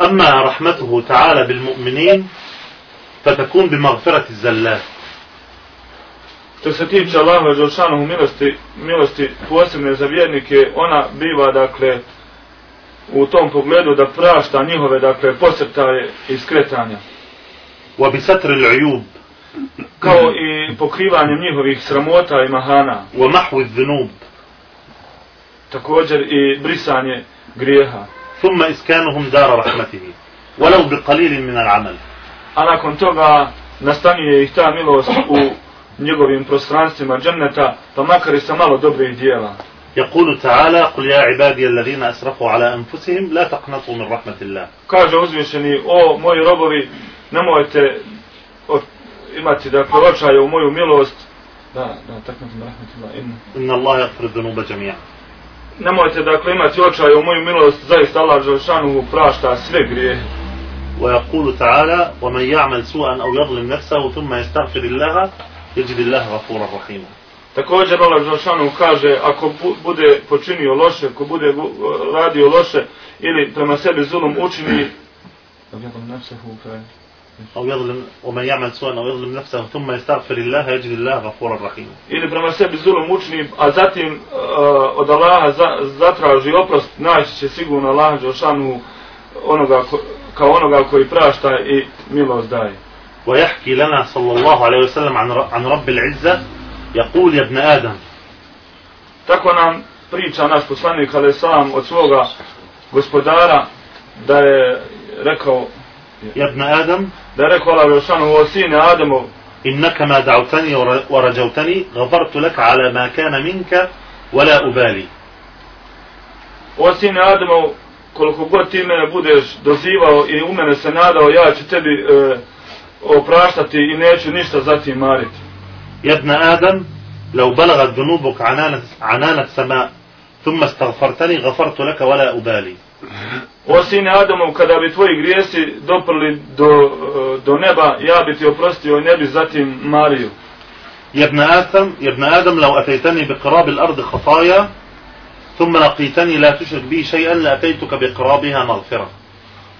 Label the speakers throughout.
Speaker 1: أما رحمته تعالى بالمؤمنين فتكون بمغفرة الزلات
Speaker 2: Što se tiče Allahove Đelšanovu milosti, milosti posebne za vjernike, ona biva, dakle, u tom pogledu da prašta njihove, dakle, posrtaje i skretanja,
Speaker 1: وبستر العيوب
Speaker 2: kao i pokrivanjem njihovih sramota i mahana,
Speaker 1: ومحو الذنوب
Speaker 2: također i brisanje grijeha.
Speaker 1: ثم إسكانهم دار رحمته ولو بقليل من العمل
Speaker 2: A nakon toga nastanjuje ih ta milost u njegovim prostranstvima dženneta, pa makar i sa malo dobrih dijela.
Speaker 1: يقول تعالى قل يا عبادي الذين أسرفوا على أنفسهم لا تقنطوا من رحمة الله
Speaker 2: Kaže uzvišeni, o moji robovi, nemojte o- imati dakle očaja u moju milost. Da, da, takmatim rahmetullah, inna.
Speaker 1: إن الله يغفر الذنوب جميعا
Speaker 2: Nemojte dakle imati očaja u moju milost, zaista Allah Želšanu prašta sve grijehe.
Speaker 1: ويقول تعالى ومن يعمل سوءا أو يظلم نفسه ثم يستغفر الله يجد الله غفورا رحيما
Speaker 2: Također Allah Želšanu kaže, ako bu- bude počinio loše, ako bude gu- radio loše ili prema sebi zulum učini,
Speaker 1: أو يظلم ومن يعمل سوءا أو يظلم نفسه ثم يستغفر الله يجد الله غفورا رحيما
Speaker 2: ili prema sebi zulum učini, a zatim uh, od Allaha za, zatraži oprost, naći će sigurno Allah Želšanu onoga ko, kao onoga koji prašta i milost daje.
Speaker 1: ويحكي لنا صلى الله عليه وسلم عن ر- عن رب العزة يقول يا ابن آدم
Speaker 2: Tako nam priča naš poslanik ali sam od svoga gospodara da je rekao
Speaker 1: يا ابن آدم
Speaker 2: da je rekao Allah Želšanu o sine Ademov
Speaker 1: إنك ما دعوتني ور- ورجوتني غفرت لك على ما كان منك ولا أبالي
Speaker 2: O sine Ademov, koliko god ti mene budeš dozivao i u mene se nadao, ja ću tebi e, opraštati i neću ništa za ti mariti.
Speaker 1: يا ابن آدم لو بلغت ذنوبك عنان عنان السماء ثم استغفرتني غفرت لك ولا أبالي
Speaker 2: O sine Adamov, kada bi tvoji grijesi doprli do, e, do neba, ja bi ti oprostio i ne bi zatim mario.
Speaker 1: يا ابن آدم يا ابن آدم لو أتيتني بقراب الأرض خطايا ثم لقيتني لا تشرك بي شيئا لأتيتك بقرابها مغفرة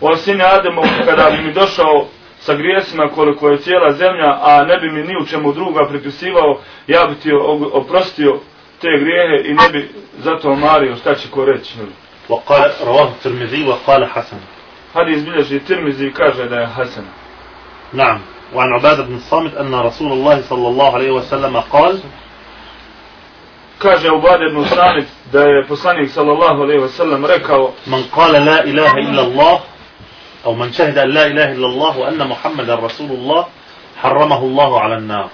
Speaker 2: O sine Adamov, kada bi mi došao sa grijesima koliko je cijela zemlja, a ne bi mi ni u čemu druga pripisivao, ja bi ti o- oprostio te grijehe i ne bi zato mario, šta će ko reći. jel?
Speaker 1: وقال رواه الترمذي وقال حسن
Speaker 2: Hadis bilježi Tirmizi i kaže da je Hasan.
Speaker 1: نعم وعن عبادة بن الصامت أن رسول الله صلى الله عليه وسلم قال
Speaker 2: Kaže Ubad ibn Samit da je poslanik sallallahu alejhi ve sellem rekao
Speaker 1: من قال لا إله إلا الله أو من شهد أن لا إله إلا الله وأن محمد رسول الله حرمه الله على النار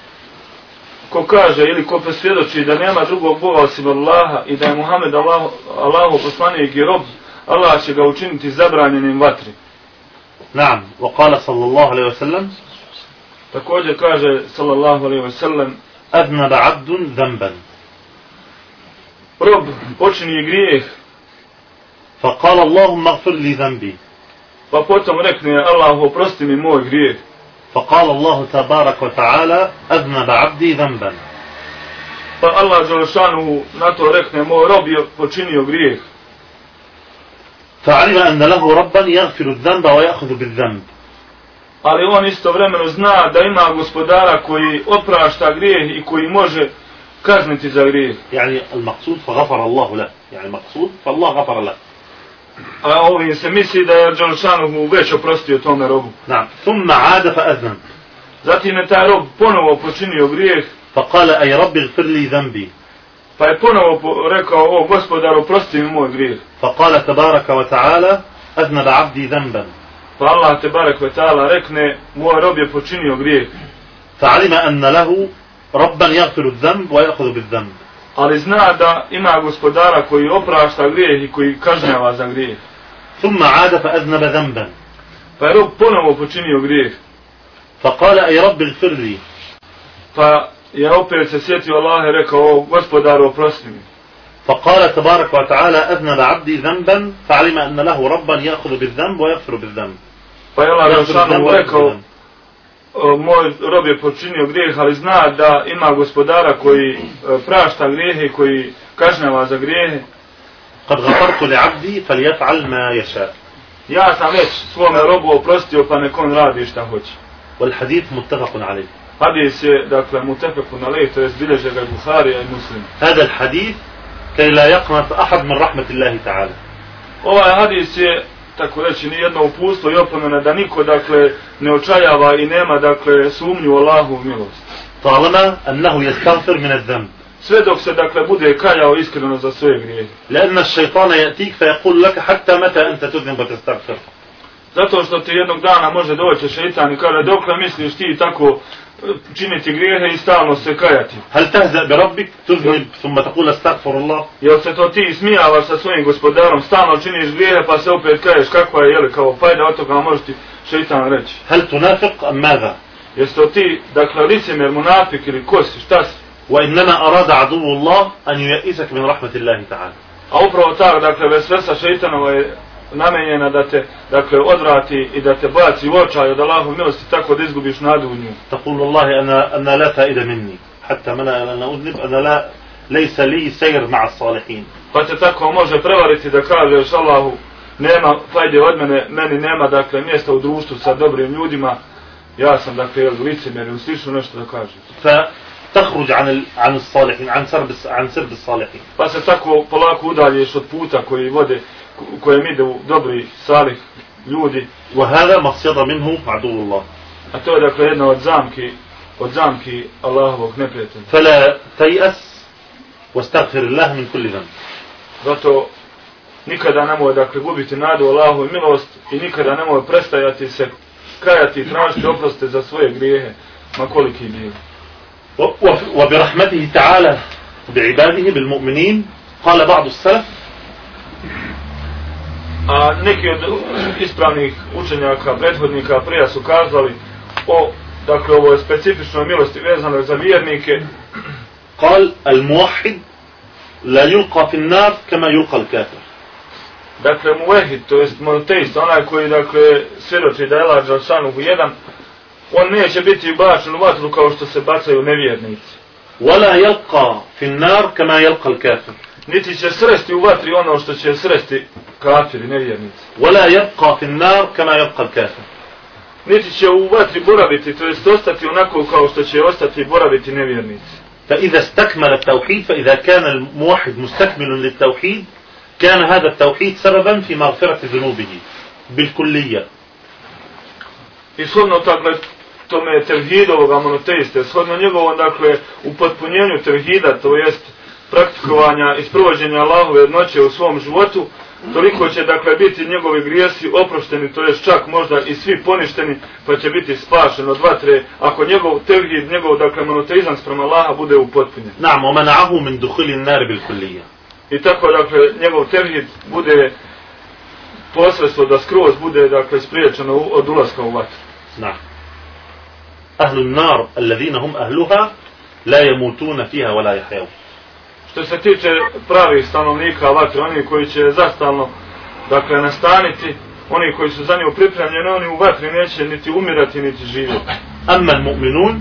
Speaker 2: ko kaže ili ko presvjedoči da nema drugog Boga osim Allaha i da je Muhammed Allah, Allahu poslanik i rob, Allah će ga učiniti zabranjenim vatri.
Speaker 1: نعم وقال صلى الله عليه وسلم
Speaker 2: Također kaže sallallahu alejhi ve sellem
Speaker 1: أذنب عبد ذنبا
Speaker 2: rob počini grijeh
Speaker 1: فقال اللهم اغفر لي ذنبي
Speaker 2: pa potom rekne Allah oprosti mi moj grijeh.
Speaker 1: فقال الله تبارك وتعالى أذنب عبدي ذنبا
Speaker 2: Pa Allah Đelešanu na to rekne moj rob je počinio grijeh.
Speaker 1: فعلم أن له ربا يغفر الذنب ويأخذ بالذنب
Speaker 2: ali on istovremeno zna da ima gospodara koji oprašta grijeh i koji može kazniti za grijeh.
Speaker 1: يعني المقصود فغفر الله له يعني المقصود فالله غفر له
Speaker 2: A ovim se misli da je Đalšanuhu već oprostio tome robu.
Speaker 1: نعم ثم عاد فأذنب
Speaker 2: Zatim je taj rob ponovo počinio grijeh,
Speaker 1: فقال أي رب اغفر لي ذنبي
Speaker 2: pa je ponovo po- rekao, o gospodar, oprosti mi moj grijeh.
Speaker 1: فقال تبارك وتعالى أذنب عبدي ذنبا
Speaker 2: Pa Allah te barek vetala rekne, moj rob je počinio grijeh.
Speaker 1: فعلم أن له ربا يغفر الذنب ويأخذ بالذنب
Speaker 2: Ali zna da ima gospodara koji oprašta grijeh i koji kažnjava za grijeh.
Speaker 1: ثم عاد فأذنب ذنبا
Speaker 2: Pa je rob ponovo počinio grijeh.
Speaker 1: فقال أي رب اغفر لي
Speaker 2: Pa je opet se sjetio Allah i rekao, o gospodaru, oprosti mi.
Speaker 1: فقال تبارك وتعالى أذنب عبدي ذنبا فعلم أن له ربا يأخذ بالذنب ويغفر بالذنب
Speaker 2: Pa je Allah
Speaker 1: يغفر الذنب
Speaker 2: Želšanu
Speaker 1: ويغفر
Speaker 2: rekao,
Speaker 1: بالذنب.
Speaker 2: o, moj rob je počinio grijeh, ali zna da ima gospodara koji e, prašta grijehe i koji kažnjava za grijehe,
Speaker 1: قد غفرت لعبدي فليفعل ما يشاء
Speaker 2: Ja sam već svome robu oprostio pa nek on radi šta hoće.
Speaker 1: والحديث متفق عليه
Speaker 2: Hadis je, dakle, mutefeku na lej, to je bilježe ga Buharija i Muslim.
Speaker 1: هذا الحديث كي لا يقنط أحد من رحمة الله تعالى
Speaker 2: Ovaj hadis je, tako reći, nijedno upustvo i opomena da niko, dakle, ne očajava i nema, dakle, sumnju u Allahu milost.
Speaker 1: طالما أنه يستغفر من الذنب
Speaker 2: Sve dok se, dakle, bude kajao iskreno za svoje grijehe.
Speaker 1: لأن الشيطان يأتيك فيقول لك حتى متى أنت تذنب وتستغفر
Speaker 2: Zato što ti jednog dana može doći šeitan i kada dokle misliš ti tako e, činiti grijehe i stalno se kajati.
Speaker 1: هل تهزأ بربك تذنب ثم تقول استغفر الله
Speaker 2: Jel se to ti ismijavaš sa svojim gospodarom, stalno činiš grijehe pa se opet kaješ kakva je, jel, kao fajda od toga može ti šeitan reći.
Speaker 1: هل تنافق أم ماذا
Speaker 2: Jesi to ti, dakle, licemjer, munafik ili ko si, šta si?
Speaker 1: وإنما أراد عدو الله أن ييئسك من رحمة الله تعالى
Speaker 2: A upravo ta, dakle, vesvesa šeitanova je namenjena da te, dakle, odvrati i da te baci u očaj od Allahu milosti tako da izgubiš nadu u nju.
Speaker 1: تقول والله أنا أنا لا فائدة مني حتى من أنا أذنب أنا لا ليس لي سير مع الصالحين
Speaker 2: Pa te tako može prevariti da kažeš Allahu, nema fajde od mene, meni nema, dakle, mjesta u društvu sa dobrim ljudima. Ja sam, dakle, jel, licemjer ili slično nešto da kažeš.
Speaker 1: فتخرج عن ال- عن الصالحين عن سرب عن سرب الصالحين
Speaker 2: Pa se tako polako udaljiš od puta koji vode, ko- kojem ide u dobri, salih ljudi,
Speaker 1: وهذا مصيدة منه عدو الله
Speaker 2: a to je dakle jedna od zamki, od zamki Allahovog neprijatelja.
Speaker 1: فلا تيأس واستغفر الله من كل ذنب
Speaker 2: Zato nikada nemoj dakle gubiti nadu u Allahu i milost i nikada nemoj prestajati se kajati i tražiti oproste za svoje grijehe, ma koliki bili.
Speaker 1: و- و- وبرحمته تعالى بعباده بالمؤمنين قال بعض السلف
Speaker 2: A neki od ispravnih učenjaka, prethodnika, prija su kazali o, dakle, ovo je specifično milosti vezano za vjernike,
Speaker 1: قال الموحد لا يلقى في النار كما يلقى الكافر
Speaker 2: Dakle, muvehid, to jest monoteist, onaj koji, dakle, svjedoči da je lađa Đalšanuhu jedan, on neće biti bačen u vatru kao što se bacaju nevjernici.
Speaker 1: ولا يلقى في النار كما يلقى الكافر
Speaker 2: Niti će sresti u vatri ono što će sresti kafiri, nevjernici.
Speaker 1: ولا يبقى في النار كما يبقى الكافر
Speaker 2: Niti će u vatri boraviti, to jest ostati onako kao što će ostati i boraviti nevjernici.
Speaker 1: فإذا استكمل التوحيد فإذا كان الموحد مستكمل للتوحيد كان هذا التوحيد سببا في مغفرة ذنوبه بالكلية
Speaker 2: I shodno dakle, tome tevhidovog monoteiste, shodno njegovom, dakle, upotpunjenju tevhida, to jest praktikovanja i sprovođenja Allahove jednoće u svom životu, toliko će, dakle, biti njegovi grijesi oprošteni, to jest čak možda i svi poništeni, pa će biti spašen od vatre, ako njegov tevhid, njegov, dakle, monoteizam sprem Allaha bude upotpunjen.
Speaker 1: نعم ومنعه من دخول النار بالكلية
Speaker 2: I tako, dakle, njegov tevhid bude posredstvo da skroz bude, dakle, spriječeno u- od ulaska u vatru.
Speaker 1: نعم أهل النار الذين هم أهلها لا يموتون فيها ولا يحيون
Speaker 2: Što se tiče pravih stanovnika vatre, oni koji će zastalno, dakle, nastaniti, oni koji su za nju pripremljeni, oni u vatri neće niti umirati, niti živjeti.
Speaker 1: أما المؤمنون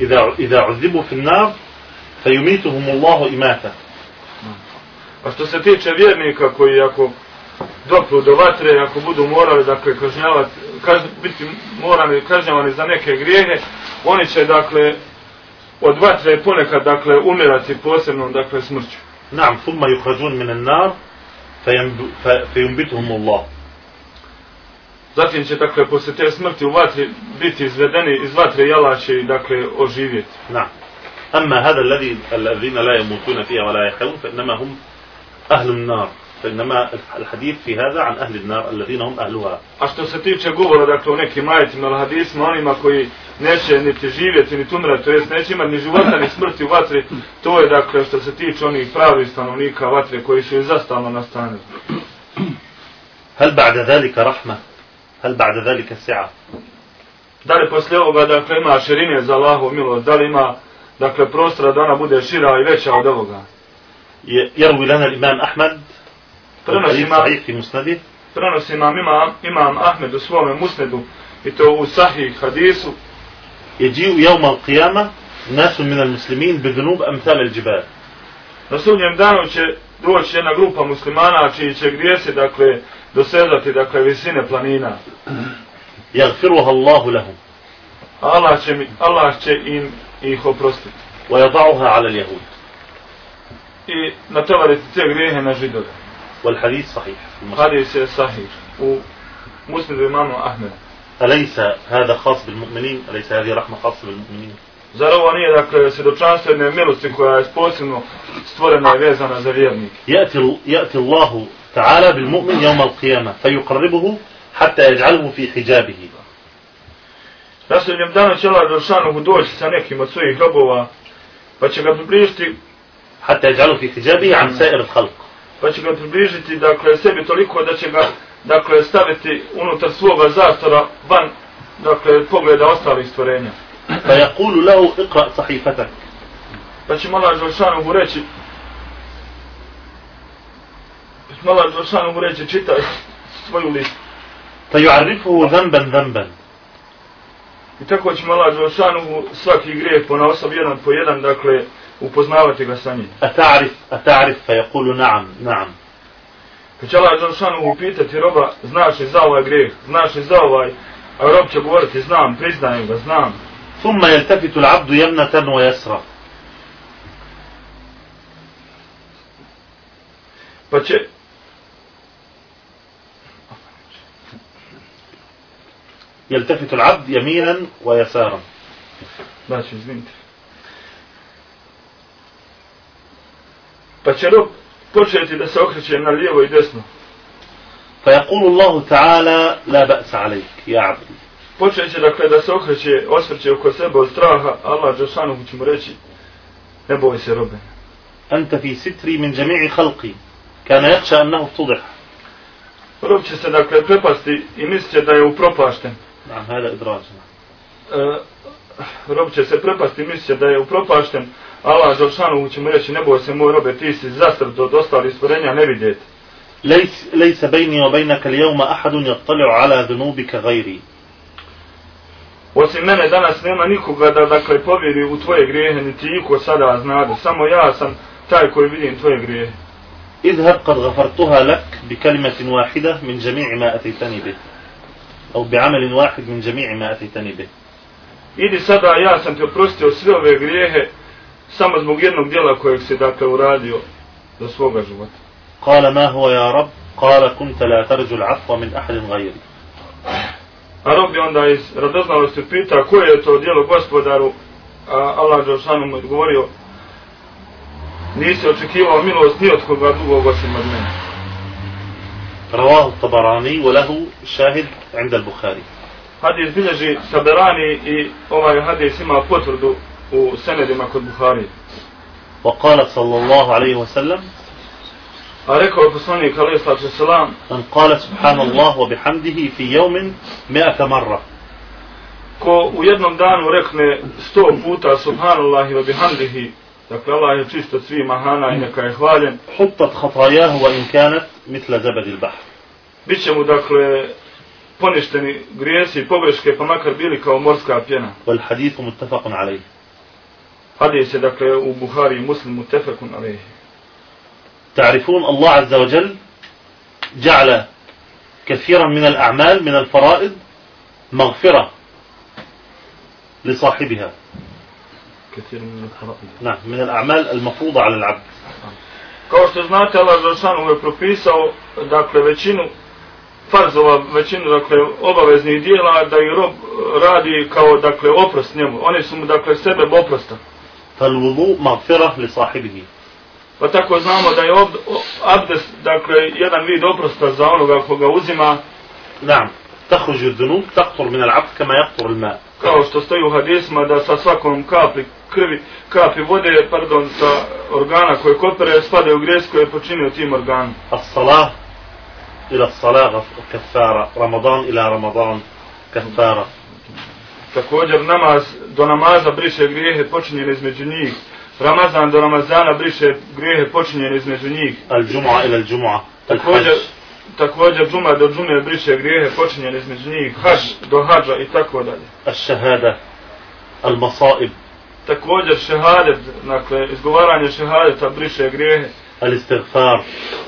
Speaker 1: إذا إذا عذبوا في النار فيميتهم الله إماتة
Speaker 2: A što se tiče vjernika koji ako dopru do vatre, ako budu morali, dakle, kažnjavati, kaž, biti morani, kažnjavani za neke grijehe, oni će, dakle, od vatre ponekad, dakle, umirati posebnom, dakle, smrću.
Speaker 1: نعم ثم يخرجون من النار فينب- ف- فينبتهم الله
Speaker 2: Zatim će, dakle, poslije te smrti u vatri biti izvedeni iz vatre jalače i, dakle, oživjeti.
Speaker 1: نعم أما هذا الذي الذين لا يموتون فيها ولا يحيون فإنما هم أهل النار فإنما الحديث في هذا عن أهل النار الذين هم أهلها
Speaker 2: A što se tiče govora, dakle, o nekim ajetima ili hadisma, onima koji neće niti živjeti, niti umrati, to jest neće imati ni života, ni smrti u vatri, to je, dakle, što se tiče onih pravih stanovnika vatre koji su i zastalno nastanili.
Speaker 1: هل بعد ذلك رحمة هل بعد ذلك سعة
Speaker 2: Da li poslije ovoga, dakle, ima širine za Allahu milost, da li ima, dakle, prostora da ona bude šira i veća od ovoga.
Speaker 1: ي- يروي لنا الإمام أحمد
Speaker 2: Prenosi
Speaker 1: الحديث
Speaker 2: imam,
Speaker 1: صحيح في مسنده
Speaker 2: prenosi imam, imam, imam Ahmed u svome musnedu, i to u sahih hadisu,
Speaker 1: يجيء يوم القيامة ناس من المسلمين بذنوب أمثال الجبال
Speaker 2: Na sudnjem danu će doći jedna grupa muslimana čiji će grijesi, dakle, dosezati, dakle, visine planina.
Speaker 1: يغفرها الله لهم
Speaker 2: Allah će, mi, Allah će im ih oprostiti.
Speaker 1: ويضعها على اليهود
Speaker 2: I natovariti te grijehe na židove.
Speaker 1: والحديث صحيح في المسلم.
Speaker 2: Hadis je sahih u muslidu imama Ahmeda.
Speaker 1: أليس هذا خاص بالمؤمنين أليس هذه رحمة خاصة بالمؤمنين
Speaker 2: Zar ovo nije, dakle, svjedočanstvo jedne milosti koja je posebno stvorena i vezana za vjernike?
Speaker 1: يأتي, ال- يأتي الله تعالى بالمؤمن يوم القيامة فيقربه حتى يجعله في حجابه
Speaker 2: Na sudnjem danu će Allah Đelšanuhu doći sa nekim od svojih robova, pa će ga približiti,
Speaker 1: حتى يجعله في حجابه عن سائر الخلق
Speaker 2: pa će ga približiti, dakle, sebi toliko da će ga, dakle, staviti unutar svoga zastora van, dakle, pogleda ostalih stvorenja.
Speaker 1: فيقول له اقرأ صحيفتك
Speaker 2: Pa će mu Allah Đelšanuhu reći, pa će mu Allah Đelšanuhu reći, čitaj svoju listu.
Speaker 1: فيعرفه ذنبا ذنبا
Speaker 2: I tako će mu Allah Đelšanuhu svaki grijeh po osob jedan po jedan, dakle, upoznavati ga sa njim.
Speaker 1: أتعرف أتعرف فيقول نعم نعم
Speaker 2: Pa će Allah Đelšanu upitati roba, znaš li za ovaj grijeh, znaš li za ovaj, a rob će govoriti, znam, priznajem ga, znam.
Speaker 1: ثم يلتفت العبد يمنة ويسرى
Speaker 2: Pa će...
Speaker 1: يلتفت العبد يمينا ويسارا
Speaker 2: Znači, izvinite. Pa će rob početi da se okreće na lijevo i desno.
Speaker 1: فيقول الله تعالى لا بأس عليك يا عبدي
Speaker 2: Počet će, dakle, da se okreće, osvrće oko sebe od straha, Allah Đelšanu će mu reći, ne boj se robe.
Speaker 1: أنت في ستري من جميع خلقي كان يخشى أنه افتضح
Speaker 2: Rob će se, dakle, prepasti i mislit će da je upropašten.
Speaker 1: نعم هذا إدراج
Speaker 2: e, rob će se prepasti, mislit će da je upropašten. Allah Žalšanovu će mu reći, ne boj se moj robe, ti si zasrt od ostalih stvorenja, ne vidjeti.
Speaker 1: ليس, ليس بيني وبينك اليوم أحد يطلع على ذنوبك غيري
Speaker 2: Osim mene danas nema nikoga da dakle povjeri u tvoje grijehe, niti iko sada znade. Samo ja sam taj koji vidim tvoje grijehe.
Speaker 1: اذهب قد غفرتها لك بكلمة واحدة من جميع ما أتيتني به أو بعمل واحد من جميع ما أتيتني به
Speaker 2: Idi sada, ja sam ti oprostio sve ove grijehe, samo zbog jednog djela kojeg si dakle uradio do svoga života.
Speaker 1: قال ما هو يا رب قال كنت لا ترجو العفو من أحد غيري
Speaker 2: A rob je onda iz radoznalosti pita koje je to djelo gospodaru, a Allah Đelšanu mu je odgovorio nisi očekivao milost ni od koga drugog osim od mene.
Speaker 1: رواه الطبراني وله شاهد عند البخاري
Speaker 2: Hadis bilježi Saberani i ovaj hadis ima potvrdu u senedima kod Buhari.
Speaker 1: وقال صلى الله عليه وسلم
Speaker 2: A rekao je poslanik alaih sallatu selam,
Speaker 1: من قال سبحان الله وبحمده في يوم مئة مرة
Speaker 2: ko u jednom danu rekne sto puta subhanallahi wa bihamdihi, dakle Allah je čist od svih mahana i neka je hvaljen,
Speaker 1: حطت خطاياه وإن كانت مثل زبد البحر
Speaker 2: bit će mu dakle poništeni grijesi i pogreške pa makar bili kao morska pjena.
Speaker 1: والحديث متفق عليه
Speaker 2: Hadis je dakle u Buhari i Muslimu tefekun alihi.
Speaker 1: تعرفون الله عز وجل جعل كثيرا من الأعمال من الفرائض مغفرة لصاحبها نعم من الأعمال المفروضة على العبد
Speaker 2: Kao što znate, Allah Želšanu je propisao, dakle, većinu farzova, većinu, dakle, obaveznih dijela, da i rob e, radi kao, dakle, oprost njemu. Oni su mu, dakle, sebe oprosta.
Speaker 1: فالوضوء مغفرة لصاحبه
Speaker 2: Pa tako znamo da je ob, o- abdest, dakle, jedan vid oprosta za onoga koga uzima,
Speaker 1: نعم تخرج الذنوب تقطر من العبد كما يقطر الماء
Speaker 2: kao što stoji u hadisma, da sa svakom kapi krvi, kapi vode, pardon, sa organa koje kopere, spadaju grijesi koje je počinio tim organom.
Speaker 1: الصلاة إلى الصلاة غف- كفارة رمضان إلى رمضان كفارة
Speaker 2: Također namaz do namaza briše grijehe počinjene između njih. Ramazan do Ramazana briše grijehe počinjene između njih.
Speaker 1: الجمعة إلى الجمعة
Speaker 2: Također,
Speaker 1: الحج
Speaker 2: također džuma do džume briše grijehe počinjene između njih. Hač do hađa i tako dalje.
Speaker 1: الشهادة المصائب
Speaker 2: Također šehadet, dakle, izgovaranje šehadeta briše grijehe.
Speaker 1: الاستغفار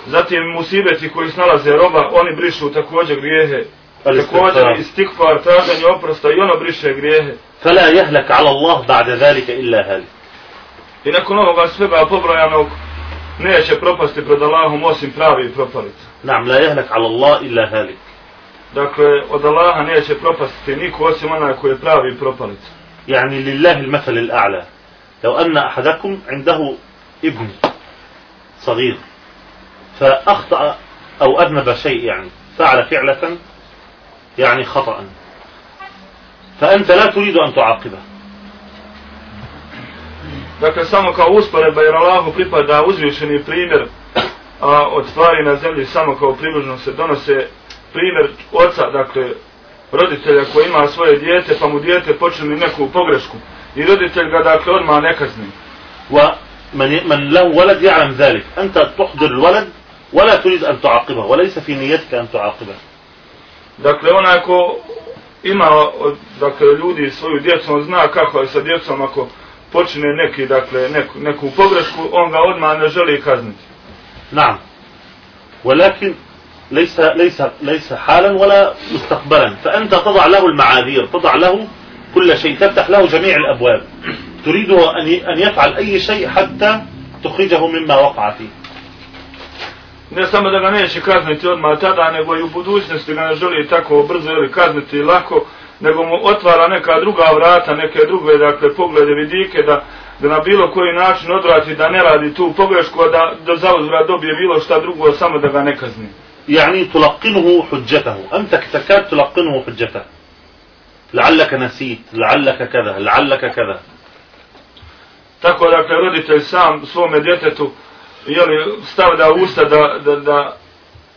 Speaker 2: Zatim musibeti koji snalaze roba, oni brišu također grijehe. Također
Speaker 1: الاستغفار
Speaker 2: istikvar, traženje oprosta i ono briše grijehe.
Speaker 1: فلا يهلك على الله بعد ذلك إلا هالك
Speaker 2: I nakon ovoga svega pobrojanog neće propasti pred Allahom osim pravi propalica.
Speaker 1: نعم لا يهلك على الله إلا هالك
Speaker 2: Dakle, od Allaha neće propasti niko osim onaj koji je pravi propalica.
Speaker 1: يعني لله المثل الأعلى لو أن أحدكم عنده ابن صغير فأخطأ أو أذنب شيء يعني فعل فعلة يعني خطأ فأنت لا تريد أن تعاقبه
Speaker 2: Dakle, samo kao usporedba jer Allahu pripada uzvišeni primjer a od stvari na zemlji samo kao približno se donose primjer oca, dakle, roditelja koji ima svoje dijete pa mu dijete počini neku pogrešku i roditelj ga dakle odmah ne kazni.
Speaker 1: ومن من له ولد يعلم ذلك أنت تحضر الولد ولا تريد أن تعاقبه وليس في نيتك أن تعاقبه
Speaker 2: Dakle, onaj ko ima od- dakle, ljudi svoju djecu, on zna kako je sa djecom ako počine neki, dakle, neku, neku pogrešku, on ga odmah ne želi kazniti.
Speaker 1: نعم ولكن ليس ليس ليس حالا ولا مستقبلا فأنت تضع له المعاذير تضع له كل شيء تفتح له جميع الأبواب تريده أن ي- أن يفعل أي شيء حتى تخرجه مما وقع فيه
Speaker 2: Ne samo da ga neće kazniti odmah tada, nego i u budućnosti ga ne želi tako brzo ili kazniti lako, nego mu otvara neka druga vrata, neke druge, dakle, poglede, vidike, da, da na bilo koji način odvrati, da ne radi tu pogrešku, a da, da zauzvrat dobije bilo šta drugo, samo da ga ne kazni.
Speaker 1: يعني تلقنه حجته أنت تكاد تلقنه حجته لعلك نسيت لعلك كذا لعلك كذا
Speaker 2: Tako dakle roditelj sam svome djetetu jeli, stavlja u usta da, da, da,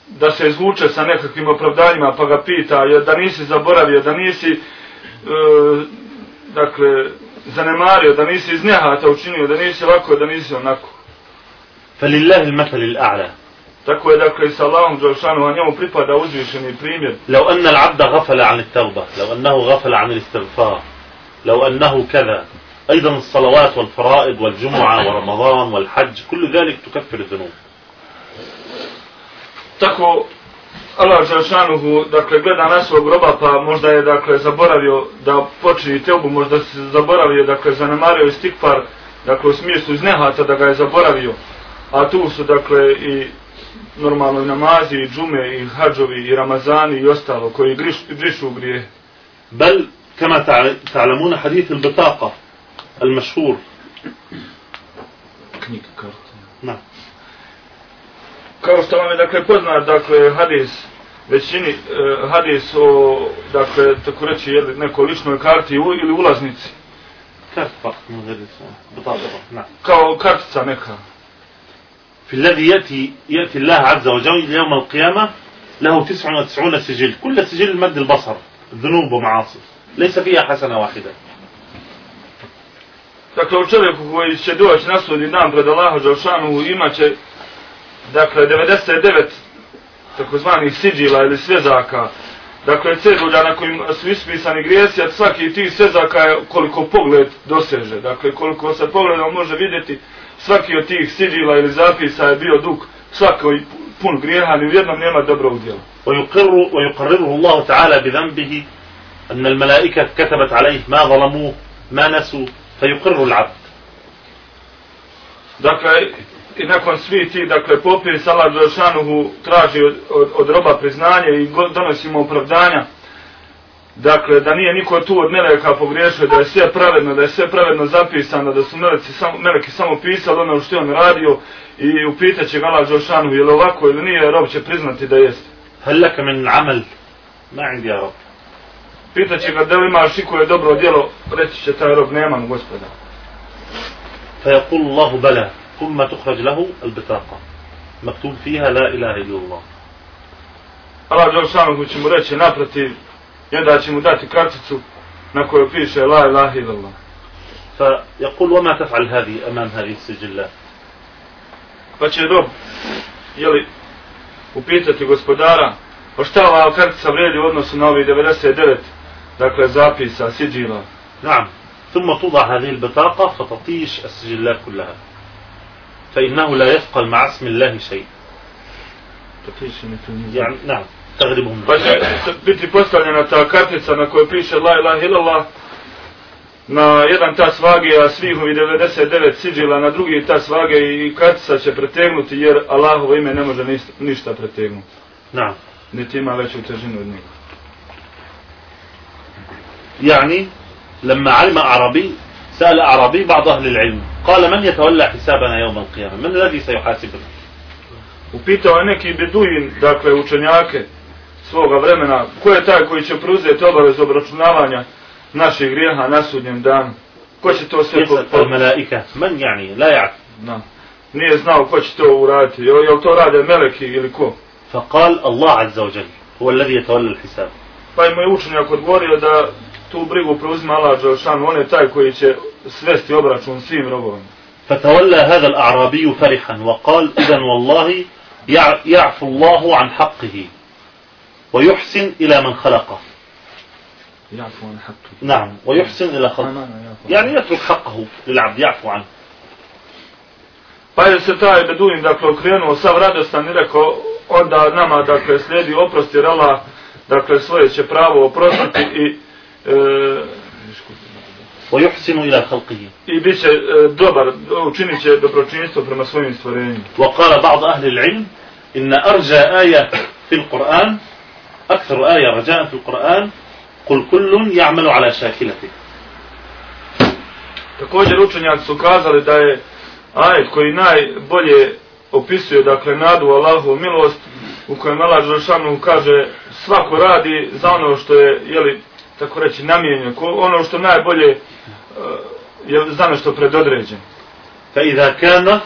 Speaker 2: da se izvuče sa nekakvim opravdanjima pa ga pita jel, da nisi zaboravio, da nisi e, dakle zanemario, da nisi iz nehata učinio, da nisi ovako, da nisi onako.
Speaker 1: فلله المثل الأعلى
Speaker 2: Tako je dakle i sa Allahom Đelšanu, a njemu pripada uzvišeni primjer.
Speaker 1: لو أن العبد غفل عن التوبة لو أنه غفل عن الاستغفار لو أنه كذا أيضا الصلوات والفرائض والجمعة ورمضان والحج كل ذلك تكفر الذنوب
Speaker 2: Tako Allah Želšanuhu, dakle, gleda na svog groba, pa možda je, dakle, zaboravio da počini teubu, možda se zaboravio, dakle, zanemario je stikpar, dakle, u smislu iz nehata da ga je zaboravio. A tu su, dakle, i normalno i namazi, i džume, i hađovi, i ramazani, i ostalo, koji griš, grišu grije.
Speaker 1: بل كما تع- تعلمون حديث البطاقة المشهور
Speaker 2: Knjige, karte.
Speaker 1: نعم
Speaker 2: Kao što vam je, dakle, poznat, dakle, hadis, većini eh, hadis o, dakle, tako reći, jeli, nekoj ličnoj karti u- ili ulaznici,
Speaker 1: كارت فقط من غير اسم. بطاقة فقط. نعم
Speaker 2: kao kartica neka.
Speaker 1: في الذي يأتي يأتي الله عز وجل يوم القيامة له 99 سجل كل سجل مد البصر ذنوب ومعاصي ليس فيها حسنة واحدة
Speaker 2: Dakle, u čovjeku koji će doći na sudni dan pred Allaha Đelšanu imat će, dakle, 99 takozvanih siđila ili svezaka. Dakle, cedulja na kojim su ispisani grijesi, a svaki od tih svezaka je koliko pogled doseže. Dakle, koliko se pogledom može vidjeti, svaki od tih siđila ili zapisa je bio dug, svaki pun grijeha, ni u jednom nema dobrog djela.
Speaker 1: ويقر ويقرره الله تعالى بذنبه أن الملائكة كتبت عليه ما ظلموه ما نسوا فيقر العبد
Speaker 2: Dakle, i nakon svi ti, dakle, popis Allah Đelšanuhu traži od, od, od roba priznanje i go- donosi mu opravdanja. Dakle, da nije niko tu od meleka pogriješio, da je sve pravedno, da je sve pravedno zapisano, da su meleci samo, meleki samo pisali ono što je on radio i upitaće ga Allah Đelšanuhu je li ovako ili nije, rob će priznati da jeste.
Speaker 1: هل لك من عمل ما عندي يا رب
Speaker 2: Pitaće ga da li imaš iko je dobro djelo, reći će taj rob, nemam gospoda.
Speaker 1: فيقول الله بلى ثم تخرج له البطاقة مكتوب فيها لا إله إلا الله
Speaker 2: Allah Đelšanuhu će mu reći naprotiv i onda će mu dati karticu na kojoj piše La ilaha illallah.
Speaker 1: فيقول وما تفعل هذه أمام هذه السجلات
Speaker 2: Pa će rob, jeli, upitati gospodara, pa šta ova kartica vredi u odnosu na ovih 99, dakle, zapisa, siđila.
Speaker 1: نعم ثم توضع هذه البطاقة فتطيش السجلات كلها فإنه لا يثقل مع اسم الله شيء يعني نعم تغلبهم
Speaker 2: Pa će biti postavljena ta kartica na kojoj piše La ilaha illallah na jedan tas vage, a svih ovih 99 siđila na drugi tas vage i kartica će pretegnuti jer Allahovo ime ne može ništa, ništa pretegnuti.
Speaker 1: نعم
Speaker 2: Niti ima veću težinu od njega.
Speaker 1: يعني لما علم أعرابي سأل أعرابي بعض أهل العلم قال من يتولى حسابنا يوم القيامة من الذي سيحاسبنا
Speaker 2: Upitao je neki beduin, dakle učenjake svoga vremena, ko je taj koji će preuzeti obavezu obračunavanja naših grijeha na sudnjem danu? Ko će to sve
Speaker 1: يسأل
Speaker 2: po-
Speaker 1: الملائكة من يعني لا يعرف
Speaker 2: Da. Nije znao ko će to uraditi. Jel, jel to rade meleki ili ko?
Speaker 1: فقال الله عز وجل هو الذي يتولى الحساب
Speaker 2: Pa je moj učenjak odgovorio da tu brigu preuzme Allah Đelšan, on je taj koji će svesti obračun svim robovima.
Speaker 1: فتولى هذا الأعرابي فرحا وقال إذا والله يع- يعفو الله عن حقه ويحسن إلى من خلقه
Speaker 2: Ja fuan hatu.
Speaker 1: نعم ويحسن إلى خلقه يعني يترك حقه للعبد يعفو عنه
Speaker 2: Pa je se taj beduin, dakle, okrenuo sav radostan i rekao, onda nama, dakle, slijedi oprost jer Allah, dakle, svoje će pravo oprostiti i, e,
Speaker 1: ويحسن إلى خلقه
Speaker 2: i bit će e, dobar, učinit će dobročinjstvo prema svojim stvorenjima.
Speaker 1: وقال بعض أهل العلم إن أرجى آية في القرآن أكثر آية رجاء في القرآن قل كل يعمل على شاكلته
Speaker 2: Također učenjaci su kazali da je ajet koji najbolje opisuje dakle nadu u Allahu milost u kojem Allah Đelšanu kaže svako radi za ono što je jeli, tako reći namijenjeno, ko- ono što najbolje eh, je za nešto predodređeno.
Speaker 1: فإذا كان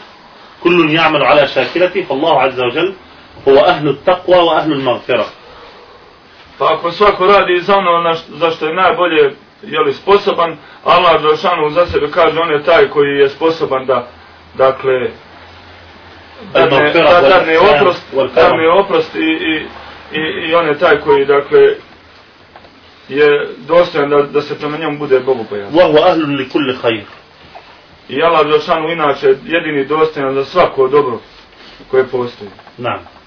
Speaker 1: كل يعمل على شاكلته فالله عز وجل هو أهل التقوى وأهل المغفرة
Speaker 2: Pa ako svako radi za ono na š- za što je najbolje jeli, sposoban, Allah Đelšanu za sebe kaže on je taj koji je sposoban da dakle dadne,
Speaker 1: المغفرة
Speaker 2: da, dadne
Speaker 1: والإحسان
Speaker 2: oprost,
Speaker 1: والكرم.
Speaker 2: dadne oprost i, i, i, i on je taj koji, dakle, je dostojan da, da se prema njemu bude Bogu pojavio.
Speaker 1: وهو أهل لكل خير
Speaker 2: I Allah Đelšanu inače jedini dostojan za svako dobro koje postoji.
Speaker 1: نعم